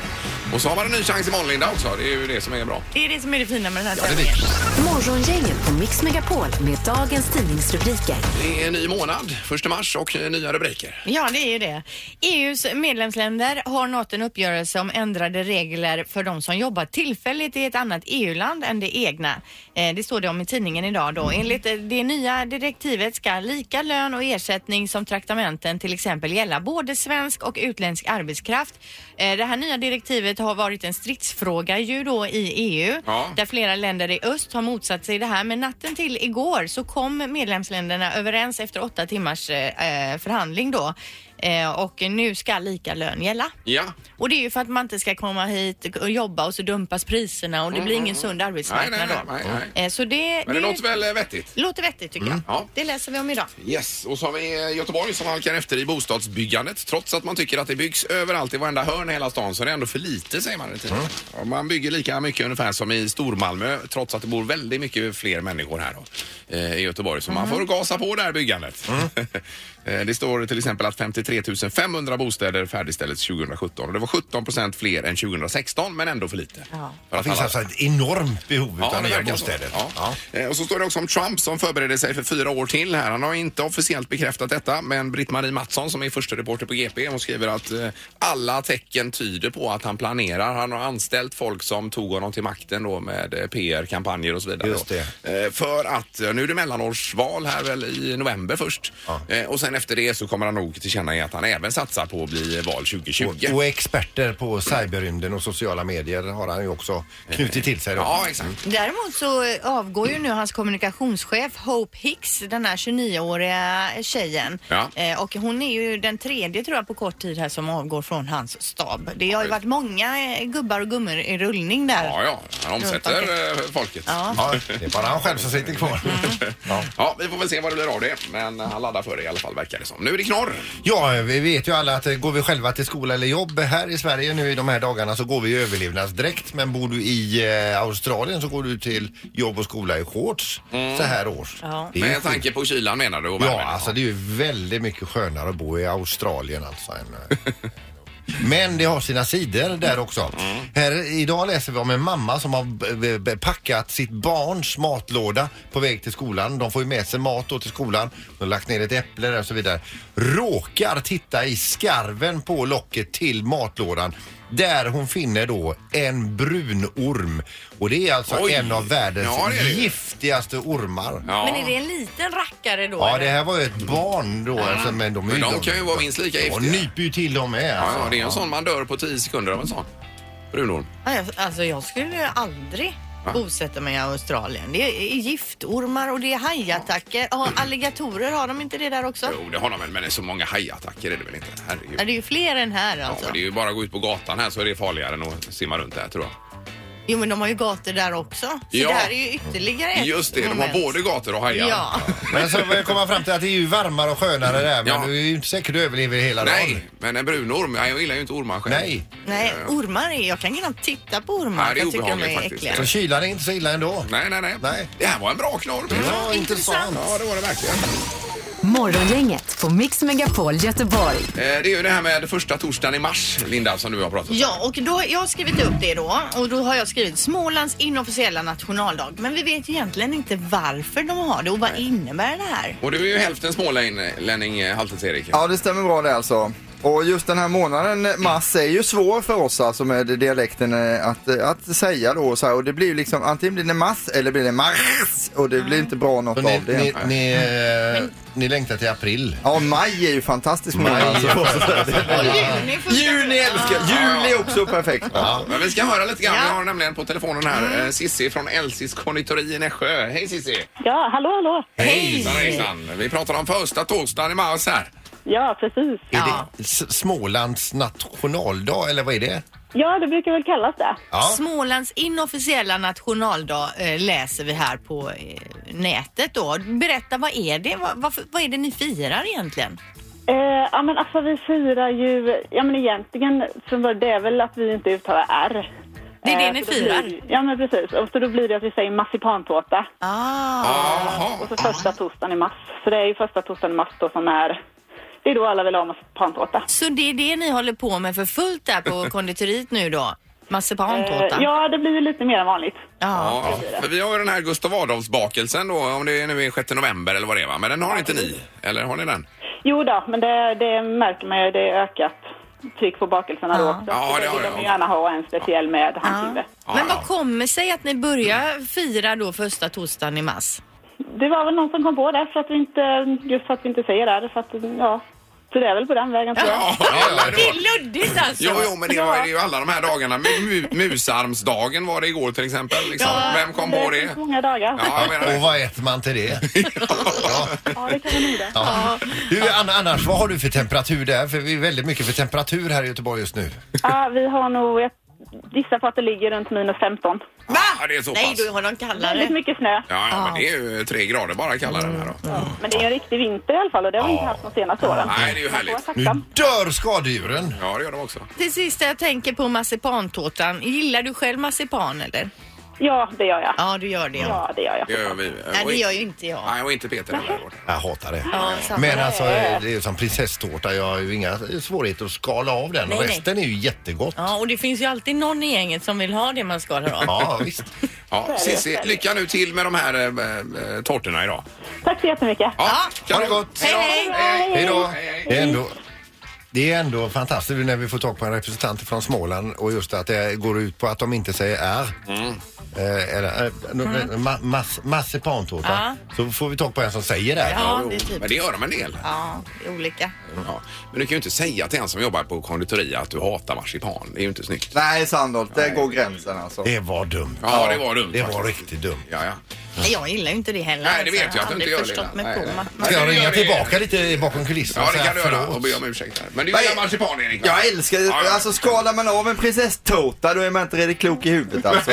[SPEAKER 2] Och så har man en ny chans imorgon, Linda, också. Det är ju det som är bra.
[SPEAKER 3] Det är det som är det fina med den här
[SPEAKER 2] det är
[SPEAKER 3] tävlingen.
[SPEAKER 5] Morgongänget på Mix Megapol med dagens tidningsrubriker.
[SPEAKER 2] Det är en ny månad, första mars, och eh, nya rubriker.
[SPEAKER 3] Ja, det är ju det. EUs medlemsländer har nått en uppgörelse om ändrade regler för de som jobbar tillfälligt i ett annat EU-land än det egna. Eh, det står det om i tidningen idag då. Enligt eh, det nya direktivet ska lika lön och ersättning som traktamenten till exempel gälla både svensk och utländsk arbetskraft. Eh, det här nya direktivet har varit en stridsfråga ju då i E EU
[SPEAKER 2] Ja.
[SPEAKER 3] där flera länder i öst har motsatt sig det här. Men natten till igår så kom medlemsländerna överens efter åtta timmars eh, eh, förhandling då. Eh, och nu ska lika lön gälla.
[SPEAKER 2] Ja.
[SPEAKER 3] Och det är ju för att man inte ska komma hit och jobba och så dumpas priserna och det blir ingen sund
[SPEAKER 2] Mm. Nej,
[SPEAKER 3] arbetsmarknad
[SPEAKER 2] nej, nej.
[SPEAKER 3] då.
[SPEAKER 2] nej, nej.
[SPEAKER 3] Eh, så det,
[SPEAKER 2] Men det låter väl eh, vettigt?
[SPEAKER 3] låter vettigt tycker jag.
[SPEAKER 2] ja.
[SPEAKER 3] Det läser vi om idag.
[SPEAKER 2] Yes, och så har vi eh, Göteborg som halkar efter i bostadsbyggandet. Trots att man tycker att det byggs överallt i varenda hörn i hela stan så är det ändå för lite säger man. Mm. Och man bygger lika mycket ungefär som i Stormalmö trots att det bor väldigt mycket fler människor här då, eh, i Göteborg. Så man får gasa på det här byggandet. Eh, det står till exempel att 53 500 bostäder färdigställdes 2017 och det var 17 procent fler än 2016 men ändå för lite.
[SPEAKER 3] Ja.
[SPEAKER 2] För att
[SPEAKER 4] Det finns
[SPEAKER 2] alla-
[SPEAKER 4] alltså ett enormt behov av
[SPEAKER 2] det
[SPEAKER 4] nya
[SPEAKER 2] verkar
[SPEAKER 4] bostäder.
[SPEAKER 2] så. Ja. Eh, Och så står det också om Trump som förbereder sig för fyra år till här. Han har inte officiellt bekräftat detta, men Britt-Marie Mattsson som är första reporter på GP, hon skriver att eh, alla tecken tyder på att han planerar. Han har anställt folk som tog honom till makten då med eh, PR-kampanjer och så vidare.
[SPEAKER 4] Just
[SPEAKER 2] då. Eh, För att, eh, nu är det mellanårsval här väl i november först. Eh, Och sen efter det så kommer han nog tillkännage att han även satsar på att bli val 2020.
[SPEAKER 4] Och experter på cyberrymden och sociala medier har han ju också knutit till sig. Då.
[SPEAKER 2] Ja, exakt.
[SPEAKER 3] Däremot så eh, avgår ju nu hans kommunikationschef Hope Hicks, den här 29-åriga tjejen.
[SPEAKER 7] Ja.
[SPEAKER 3] Eh, och hon är ju den tredje tror jag på kort tid här som avgår från hans stab. Det har ju varit många eh, gubbar och gummor i rullning där.
[SPEAKER 2] Ja, ja, han omsätter eh, folket.
[SPEAKER 3] Ja.
[SPEAKER 4] det är bara han själv som sitter kvar.
[SPEAKER 2] Ja. vi får väl se vad det blir av det. Men han laddar för det i alla fall verkar det som. Nu är det knorr.
[SPEAKER 4] Ja, vi vet ju alla att eh, går vi själva till skola eller jobb här i Sverige nu i de här dagarna så går vi i överlevnadsdräkt. Men bor du i eh, Australien så går du till jobb och skola i shorts så här års.
[SPEAKER 3] Ja.
[SPEAKER 4] Det är ju
[SPEAKER 2] Med tanke på kylan menar du? och
[SPEAKER 4] Ja,
[SPEAKER 2] värmen?
[SPEAKER 4] alltså det är ju väldigt mycket skönare att bo i Australien alltså. Än, Men det har sina sidor där också.
[SPEAKER 2] Mm.
[SPEAKER 4] Här, idag läser vi om en mamma som har b- b- packat sitt barns matlåda på väg till skolan. De får ju med sig mat då till skolan. De har lagt ner ett äpple där och så vidare. Råkar titta i skarven på locket till matlådan där hon finner då en brunorm. Och det är alltså
[SPEAKER 2] Oj.
[SPEAKER 4] en av världens
[SPEAKER 2] Ja, det är det.
[SPEAKER 4] giftigaste ormar.
[SPEAKER 2] Ja.
[SPEAKER 7] Men är det en liten rackare då?
[SPEAKER 4] Ja,
[SPEAKER 7] eller?
[SPEAKER 4] det här var ju ett barn då. Alltså, men de, är
[SPEAKER 2] Men de kan ju vara minst lika
[SPEAKER 4] Ja,
[SPEAKER 2] giftiga.
[SPEAKER 4] nyper ju till dem med.
[SPEAKER 2] Ja,
[SPEAKER 4] alltså.
[SPEAKER 2] ja, det är en sån man dör på 10 sekunder av en sån. Brunorm.
[SPEAKER 3] Ja, jag- Alltså jag skulle aldrig bosätta mig i Australien. Det är giftormar och det är hajattacker. Ja, alligatorer, har de inte det där också?
[SPEAKER 2] Jo, det har de väl, men det är så många hajattacker är det väl inte? Herregud.
[SPEAKER 3] Ja, det är ju fler än här
[SPEAKER 2] Ja,
[SPEAKER 3] alltså.
[SPEAKER 2] men det är ju bara att gå ut på gatan här så är det farligare än att simma runt här tror jag.
[SPEAKER 3] Jo men de har ju gator där också. Så
[SPEAKER 2] Ja.
[SPEAKER 3] det här är ju ytterligare ett
[SPEAKER 2] Just det, de
[SPEAKER 3] moment.
[SPEAKER 2] har både gator och hajar.
[SPEAKER 3] Ja.
[SPEAKER 4] Men så kommer man fram till att det är ju varmare och skönare där. Men
[SPEAKER 2] Ja.
[SPEAKER 4] du är ju inte säker du överlever hela dagen.
[SPEAKER 2] Nej, men en brunorm, nej, jag gillar ju inte ormar själv.
[SPEAKER 4] Nej.
[SPEAKER 3] Nej, ormar är... Jag kan knappt titta på ormar.
[SPEAKER 2] Ja, det är
[SPEAKER 3] jag tycker de
[SPEAKER 2] obehagligt
[SPEAKER 3] är
[SPEAKER 2] faktiskt.
[SPEAKER 3] äckliga.
[SPEAKER 4] Så kylan är inte så illa ändå.
[SPEAKER 2] Nej, nej, nej.
[SPEAKER 4] Nej.
[SPEAKER 2] Det här var en bra knorr.
[SPEAKER 4] Ja, intressant.
[SPEAKER 2] Ja, det var det verkligen.
[SPEAKER 5] Morgongänget på Mix Megapol Göteborg.
[SPEAKER 2] Eh, Det är ju det här med första torsdagen i mars, Linda, som du har pratat om.
[SPEAKER 3] Ja, och då, jag har skrivit upp det då och då har jag skrivit Smålands inofficiella nationaldag. Men vi vet ju egentligen inte varför de har det och vad innebär det här?
[SPEAKER 2] Och du är ju hälften smålänning, eh, Halvtids-Erik.
[SPEAKER 9] Ja, det stämmer bra det alltså. Och just den här månaden, eh, mars, är ju svår för oss alltså med dialekten eh, att, eh, att säga då och så här. Och det blir ju liksom, antingen blir det mass eller blir det mars. Och det blir inte bra något
[SPEAKER 4] Så
[SPEAKER 9] av
[SPEAKER 4] ni,
[SPEAKER 9] det.
[SPEAKER 4] ni, ni, eh, ni längtar till april.
[SPEAKER 9] Ja, maj är ju fantastisk månad.
[SPEAKER 4] Maj.
[SPEAKER 9] Alltså.
[SPEAKER 3] Juni
[SPEAKER 9] Juni älskar jag. Juli är också perfekt.
[SPEAKER 2] Ja, men vi ska höra lite grann. Vi har nämligen på telefonen här eh, Sissi från Elsis konditori i Nässjö. Hej Sissi!
[SPEAKER 10] Ja, hallå, hallå.
[SPEAKER 2] Hejsan hejsan! Vi pratar om första torsdagen i mars här.
[SPEAKER 10] Ja, precis.
[SPEAKER 4] Är det S- Smålands nationaldag eller vad är det?
[SPEAKER 10] Ja, det brukar väl kallas det.
[SPEAKER 3] Smålands inofficiella nationaldag eh, läser vi här på eh, nätet då. Berätta, vad är det? Vad, varför, vad är det ni firar egentligen?
[SPEAKER 10] Eh, ja, men alltså vi firar ju... Ja, men egentligen från början, det är väl att vi inte uttalar R.
[SPEAKER 3] Det är det
[SPEAKER 10] Eh,
[SPEAKER 3] ni
[SPEAKER 10] så då
[SPEAKER 3] firar?
[SPEAKER 10] Blir, ja, men precis. Och så då blir det att vi säger marsipantårta.
[SPEAKER 3] Ah.
[SPEAKER 10] Och så första torsdagen i mars. Så det är ju första torsdagen i mars då som är... Det är då alla vill ha marsipantårta.
[SPEAKER 3] Så det är det ni håller på med för fullt där på konditoriet nu då? Marsipantårta?
[SPEAKER 10] Eh, ja, det blir ju lite mer än vanligt.
[SPEAKER 2] Ja, för vi har ju den här Gustav Adolfsbakelsen då, om det är nu är 6 november eller vad det är va? Men den har inte ni? Eller har ni den?
[SPEAKER 10] Jo då, men det, det märker man ju. Det är ökat tryck på bakelserna då också.
[SPEAKER 2] Ja,
[SPEAKER 10] Så
[SPEAKER 2] det har
[SPEAKER 10] vill
[SPEAKER 2] jag.
[SPEAKER 10] de gärna ha en speciell med handkniven.
[SPEAKER 3] Men vad kommer sig att ni börjar fira då första torsdagen i mars?
[SPEAKER 10] Det var väl någon som kom på det för att vi inte, just för att vi inte säger det. För att, ja. Så det är väl på den vägen. tror jag.
[SPEAKER 3] Det är luddigt alltså!
[SPEAKER 2] Jo, jo, men det var det är ju alla de här dagarna. Mu- mu- musarmsdagen var det igår till exempel. Liksom. Vem kom på det?
[SPEAKER 10] finns många dagar.
[SPEAKER 2] Ja, jag menar det.
[SPEAKER 4] Och vad äter man till det?
[SPEAKER 10] Ja, det kan vi nog det.
[SPEAKER 4] Ja. Du, Anna, annars, vad har du för temperatur där? För vi är väldigt mycket för temperatur här i Göteborg just nu.
[SPEAKER 10] Ja, vi har nog, jag gissar på att det ligger runt minus 15.
[SPEAKER 2] Ja, det är så
[SPEAKER 3] Nej,
[SPEAKER 2] pass.
[SPEAKER 3] du har de
[SPEAKER 10] Väldigt
[SPEAKER 3] kallare.
[SPEAKER 10] mycket snö.
[SPEAKER 2] Ja, ja, men det är ju tre grader bara kallar den här
[SPEAKER 3] Mm.
[SPEAKER 2] då.
[SPEAKER 10] Men det är ju en riktig vinter i alla fall och det har vi inte haft de senaste åren.
[SPEAKER 2] Nej, det är ju
[SPEAKER 10] Man får vara
[SPEAKER 2] härligt. Mm.
[SPEAKER 10] tacksam.
[SPEAKER 4] Dör skadedjuren!
[SPEAKER 2] Ja, det gör de också.
[SPEAKER 3] Till sist jag tänker på marsipantårtan. Gillar du själv marsipan eller?
[SPEAKER 10] Ja, det gör jag.
[SPEAKER 3] Ja, du gör det.
[SPEAKER 10] Ja, det gör jag.
[SPEAKER 2] Det gör vi.
[SPEAKER 3] Nej,
[SPEAKER 2] Och
[SPEAKER 3] det
[SPEAKER 2] i-
[SPEAKER 3] gör ju inte jag.
[SPEAKER 2] Nej, och inte Peter heller.
[SPEAKER 4] Jag hatar det.
[SPEAKER 3] Ja, samma.
[SPEAKER 4] Men alltså, det är ju som prinsesstårta. Jag har ju inga svårigheter att skala av den.
[SPEAKER 7] Nej,
[SPEAKER 4] och resten är ju jättegott.
[SPEAKER 7] Ja, och det finns ju alltid någon i gänget som vill ha det man skalar av.
[SPEAKER 4] Ja, visst.
[SPEAKER 2] Ja, Cissi, lycka nu till med de här äh, äh, tårtorna idag.
[SPEAKER 10] Tack så jättemycket.
[SPEAKER 2] Ja,
[SPEAKER 4] Ha det gott!
[SPEAKER 2] Hej, då.
[SPEAKER 4] Hej då! Det är ändå... Det är ändå fantastiskt när vi får tag på en representant från Småland och just att det går ut på att de inte säger är.
[SPEAKER 2] Mm.
[SPEAKER 4] Eh, eller, eh,
[SPEAKER 3] Mm.
[SPEAKER 4] ma- mas- marsipantårta.
[SPEAKER 3] Ja.
[SPEAKER 4] Så får vi tag på en som säger det.
[SPEAKER 3] Ja, det är typ.
[SPEAKER 2] Men det gör de en del.
[SPEAKER 3] Ja, det är olika.
[SPEAKER 2] Ja. Men du kan ju inte säga till en som jobbar på konditori att du hatar marsipan. Det är ju inte snyggt.
[SPEAKER 9] Nej, Sandholt, där går gränsen alltså.
[SPEAKER 4] Det var dumt.
[SPEAKER 2] Ja, det var dumt.
[SPEAKER 4] Det var
[SPEAKER 2] riktigt
[SPEAKER 4] dumt.
[SPEAKER 2] Ja, ja.
[SPEAKER 3] Nej, Jag gillar ju inte det heller.
[SPEAKER 2] Nej, det vet
[SPEAKER 3] alltså.
[SPEAKER 2] jag att du inte gör,
[SPEAKER 3] har aldrig förstått
[SPEAKER 2] Lena.
[SPEAKER 3] mig
[SPEAKER 2] Nej,
[SPEAKER 3] på
[SPEAKER 2] nej.
[SPEAKER 3] ma-
[SPEAKER 4] Ska jag ringa tillbaka lite bakom kulisserna?
[SPEAKER 2] Ja,
[SPEAKER 4] och
[SPEAKER 2] det
[SPEAKER 4] säga
[SPEAKER 2] kan du göra
[SPEAKER 4] förlåt?
[SPEAKER 2] och be om ursäkt. här. Men du gillar marsipan, Erik? va?
[SPEAKER 9] Jag älskar
[SPEAKER 2] Ja, ja.
[SPEAKER 9] Alltså skalar man av en prinsesstårta då är man inte riktigt klok i huvudet alltså.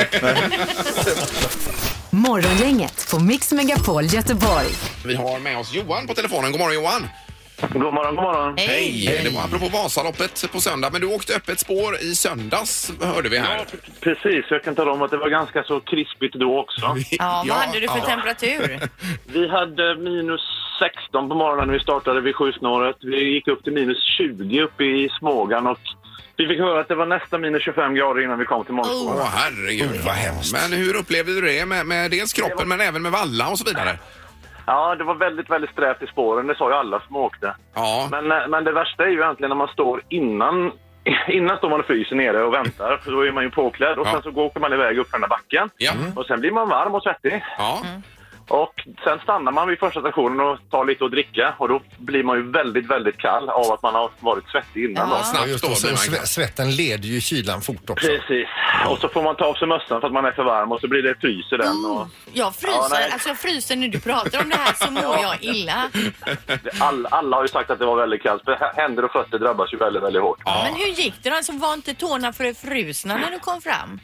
[SPEAKER 5] Morgongänget på Mix Megapol Göteborg.
[SPEAKER 2] Vi har med oss Johan på telefonen. God morgon Johan! God morgon, god morgon. Hej! Det var apropå Vasaloppet på söndag, men du åkte öppet spår i söndags hörde vi här.
[SPEAKER 11] Precis, jag kan tala om att det var ganska så krispigt då också.
[SPEAKER 3] Ja, vad hade du för temperatur?
[SPEAKER 11] Vi hade minus 16 på morgonen när vi startade vid sjusnåret. Vi gick upp till minus 20 uppe i Smågan och vi fick höra att det var nästan minus 25 grader innan vi kom till
[SPEAKER 2] Åh,
[SPEAKER 11] morgonen.
[SPEAKER 2] herregud Oh. vad hemskt. Men hur upplevde du det med, med dels kroppen men även med valla och så vidare?
[SPEAKER 11] Ja, det var väldigt, väldigt strävt i spåren. Det sa ju alla som åkte.
[SPEAKER 2] Ja.
[SPEAKER 11] Men, eh, men det värsta är ju egentligen när man står innan Innan står man och fryser nere och väntar, för då är man ju påklädd. Och
[SPEAKER 2] Ja.
[SPEAKER 11] sen så går- åker man iväg upp för den där backen.
[SPEAKER 2] Mm.
[SPEAKER 11] Och sen blir man varm och svettig.
[SPEAKER 2] Ja.
[SPEAKER 11] Och sen stannar man vid första stationen och tar lite att dricka. Och då blir man ju väldigt, väldigt kall av att man har varit svettig innan. då.
[SPEAKER 4] Ja, just det. Och sve- svetten leder ju kylan fort också.
[SPEAKER 11] Precis. Och så får man ta av sig mössan för att man är för varm och så blir det frys i den. Och...
[SPEAKER 3] Jag
[SPEAKER 11] Ja,
[SPEAKER 3] fryser,
[SPEAKER 11] nej.
[SPEAKER 3] alltså jag fryser när du pratar om det här så mår jag illa.
[SPEAKER 11] All, alla har ju sagt att det var väldigt kallt. för h- Händer och fötter drabbas ju väldigt, väldigt hårt.
[SPEAKER 7] Men hur gick det då? Alltså, var inte tårna förfrusna när du kom fram?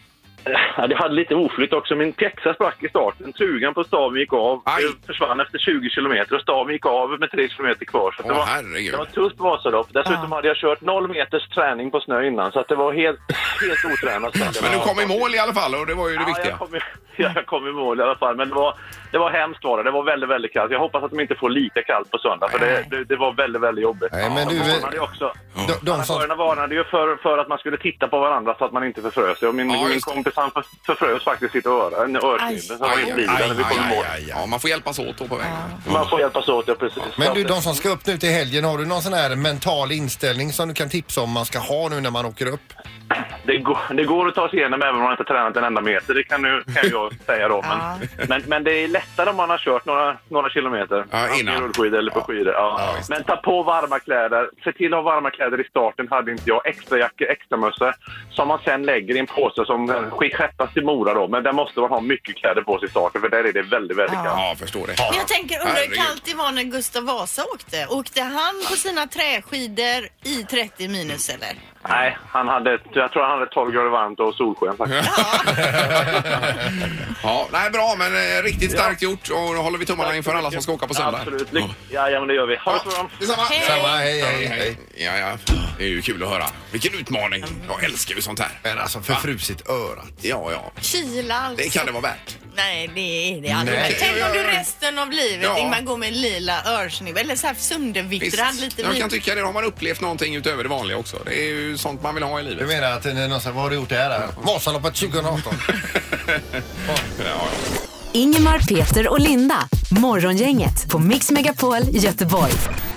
[SPEAKER 11] Ja, det hade lite oflyt också. Min pjäxa sprack i starten. Trugan på staven gick av. Det försvann efter 20 kilometer och staven gick av med 3 kilometer kvar. Så att det,
[SPEAKER 2] Åh,
[SPEAKER 11] var,
[SPEAKER 2] herregud.
[SPEAKER 11] det var ett tufft Vasalopp. Dessutom hade jag kört noll meters träning på snö innan så att det var helt, helt otränat.
[SPEAKER 2] Men du kom i mål i alla fall och det var ju det viktiga.
[SPEAKER 11] kom i- Jag kom i mål i alla fall, men det var, det var hemskt var det. Det var väldigt, väldigt kallt. Jag hoppas att de inte får lika kallt på söndag, för det, det, det var väldigt, väldigt jobbigt.
[SPEAKER 4] Nej, men
[SPEAKER 11] Ja,
[SPEAKER 4] du,
[SPEAKER 11] de
[SPEAKER 4] eh,
[SPEAKER 11] varnade ju också.
[SPEAKER 4] De, de som...
[SPEAKER 11] Arrangörerna varnade ju för, för att man skulle titta på varandra så att man inte förfrös sig. Och min, min kompis han för, förfrös faktiskt sitt öra, en örfil. Så han var
[SPEAKER 2] Aj,
[SPEAKER 11] inte i
[SPEAKER 2] aj,
[SPEAKER 11] bilen
[SPEAKER 2] aj,
[SPEAKER 11] när vi kom i
[SPEAKER 2] aj,
[SPEAKER 11] mål.
[SPEAKER 2] aj. Ja, man får hjälpas åt då på vägen.
[SPEAKER 11] Man får hjälpas åt, ja precis.
[SPEAKER 4] Men du, de som ska upp nu till helgen, har du någon sån här mental inställning som du kan tipsa om man ska ha nu när man åker upp?
[SPEAKER 11] det, går, det går att ta sig igenom även om man inte har tränat en enda meter, det kan, nu, kan jag säga då. Men, men, men det är lättare om man har kört några, några kilometer. Ja, innan. rullskidor eller på skidor. Ja. men ta på varma kläder. Se till att ha varma kläder i starten, hade inte jag. Extrajackor, extramössor som man sen lägger i en påse som eh, sk- skeppas till Mora då. Men där måste man ha mycket kläder på sig i starten för där är det väldigt, väldigt
[SPEAKER 3] Ja.
[SPEAKER 11] kallt.
[SPEAKER 2] Ja, förstår det.
[SPEAKER 3] Men jag tänker, undrar hur
[SPEAKER 11] Herregud.
[SPEAKER 3] kallt det var när Gustav Vasa åkte? Åkte han på sina träskidor i 30 minus
[SPEAKER 2] Mm.
[SPEAKER 3] eller?
[SPEAKER 11] Nej, han hade, jag tror han hade 12 grader varmt och solsken faktiskt.
[SPEAKER 2] Ja, nej, bra, men eh, riktigt starkt gjort och då håller vi tummarna inför alla som ska åka på söndag.
[SPEAKER 11] Absolut. Lyck- Jajamän, det gör vi. Ha det så bra.
[SPEAKER 2] Detsamma.
[SPEAKER 11] Hej.
[SPEAKER 2] Detsamma. Ja, ja. Det är ju kul att höra. Vilken utmaning.
[SPEAKER 3] Mm.
[SPEAKER 2] Jag älskar ju sånt här. Men alltså förfrusit örat. Ja, ja.
[SPEAKER 3] Kyla alltså.
[SPEAKER 2] Det kan det vara värt.
[SPEAKER 3] Nej, det är det aldrig.
[SPEAKER 2] Nej.
[SPEAKER 3] Tänk om du resten av livet
[SPEAKER 2] Ja.
[SPEAKER 3] Ingmar går med lila örsnibb eller så här söndervittrad
[SPEAKER 2] Visst.
[SPEAKER 3] lite
[SPEAKER 2] Jag kan
[SPEAKER 3] vit.
[SPEAKER 2] tycka det. Då har man upplevt någonting utöver det vanliga också. Det är ju sånt man vill ha i livet.
[SPEAKER 4] Du menar att eh, någon säger, vad har du gjort det här? Vasaloppet 2018.
[SPEAKER 5] Ingemar, Peter och Linda. Morgongänget på Mix Megapol Göteborg.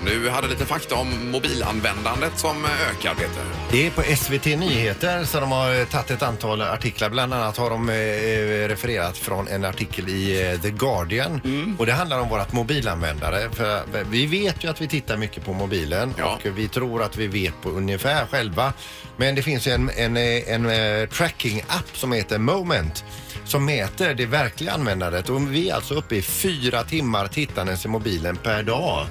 [SPEAKER 2] Du hade lite fakta om mobilanvändandet som eh, ökar, Peter.
[SPEAKER 4] Det är på SVT Nyheter så de har eh, tagit ett antal artiklar. Bland annat har de eh, eh, refererat från en artikel i eh, The Guardian. Och det handlar om vårt mobilanvändare. För eh, vi vet ju att vi tittar mycket på mobilen och vi tror att vi vet på ungefär själva. Men det finns ju en, en, eh, en, eh, tracking-app som heter Moment som mäter det verkliga användandet. Och vi är alltså uppe i fyra timmar tittandes i mobilen per dag.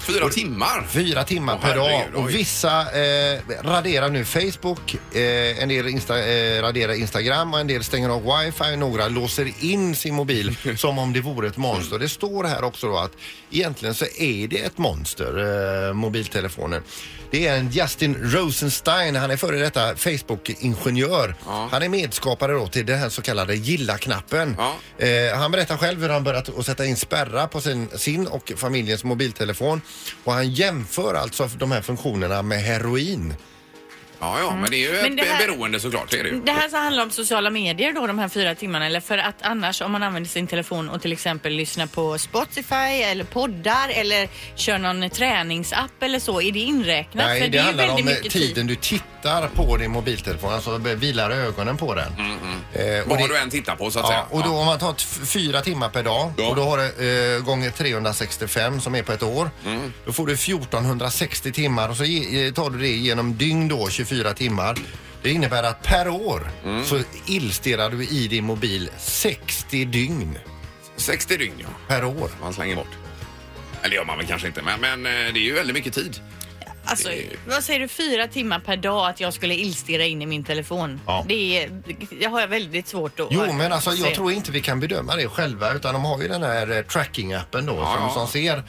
[SPEAKER 2] Fyra timmar?
[SPEAKER 4] Fyra timmar
[SPEAKER 2] Åh,
[SPEAKER 4] per dag.
[SPEAKER 2] herregud, oj.
[SPEAKER 4] Och vissa eh, raderar nu Facebook, eh, en del insta, eh, raderar Instagram och en del stänger av wifi. Några låser in sin mobil som om det vore ett monster. Det står här också då att egentligen så är det ett monster, eh, mobiltelefoner. Det är en Justin Rosenstein, han är före detta Facebook-ingenjör. Han är medskapare då till den här så kallade gilla-knappen. Eh, han berättar själv hur han börjat att sätta in spärrar på sin, sin och familjens mobiltelefon. Och han jämför alltså de här funktionerna med heroin.
[SPEAKER 2] Ja, ja, men det är ju
[SPEAKER 7] Men
[SPEAKER 2] ett
[SPEAKER 7] det här-
[SPEAKER 2] be- beroende såklart. Det är det ju.
[SPEAKER 7] Det här så handlar om sociala medier då, de här fyra timmarna. Eller för att annars om man använder sin telefon och till exempel lyssnar på Spotify eller poddar eller kör någon träningsapp eller så. Är det inräknat?
[SPEAKER 4] Nej,
[SPEAKER 7] för
[SPEAKER 4] det,
[SPEAKER 7] är ju
[SPEAKER 4] handlar om
[SPEAKER 7] väldigt
[SPEAKER 4] eh,
[SPEAKER 7] mycket
[SPEAKER 4] tiden du tittar på din mobiltelefon, alltså be- vilar ögonen på den. Eh, och
[SPEAKER 2] Mm, Vad
[SPEAKER 4] det-
[SPEAKER 2] du än tittar på så att
[SPEAKER 4] ja,
[SPEAKER 2] säga.
[SPEAKER 4] Och då om man tar t- fyra timmar per dag och då har du eh, gånger 365 som är på ett år. Då får du 1460 timmar och så ge, eh, tar du det genom dygn då, 24 timmar. Det innebär att per år så illstirrar du i din mobil 60 dygn.
[SPEAKER 2] 60 dygn ja.
[SPEAKER 4] Per år.
[SPEAKER 2] Man slänger bort. Eller det gör man väl kanske inte, men, men eh, det är ju väldigt mycket tid.
[SPEAKER 7] Alltså, vad säger du, fyra timmar per dag att jag skulle illstirra in i min telefon?
[SPEAKER 4] Ja.
[SPEAKER 7] Det, är, det har jag väldigt svårt att
[SPEAKER 4] Jo, men alltså,
[SPEAKER 7] se.
[SPEAKER 4] jag tror inte vi kan bedöma det själva utan de har ju den här eh, tracking-appen då som,
[SPEAKER 2] ja.
[SPEAKER 4] som ser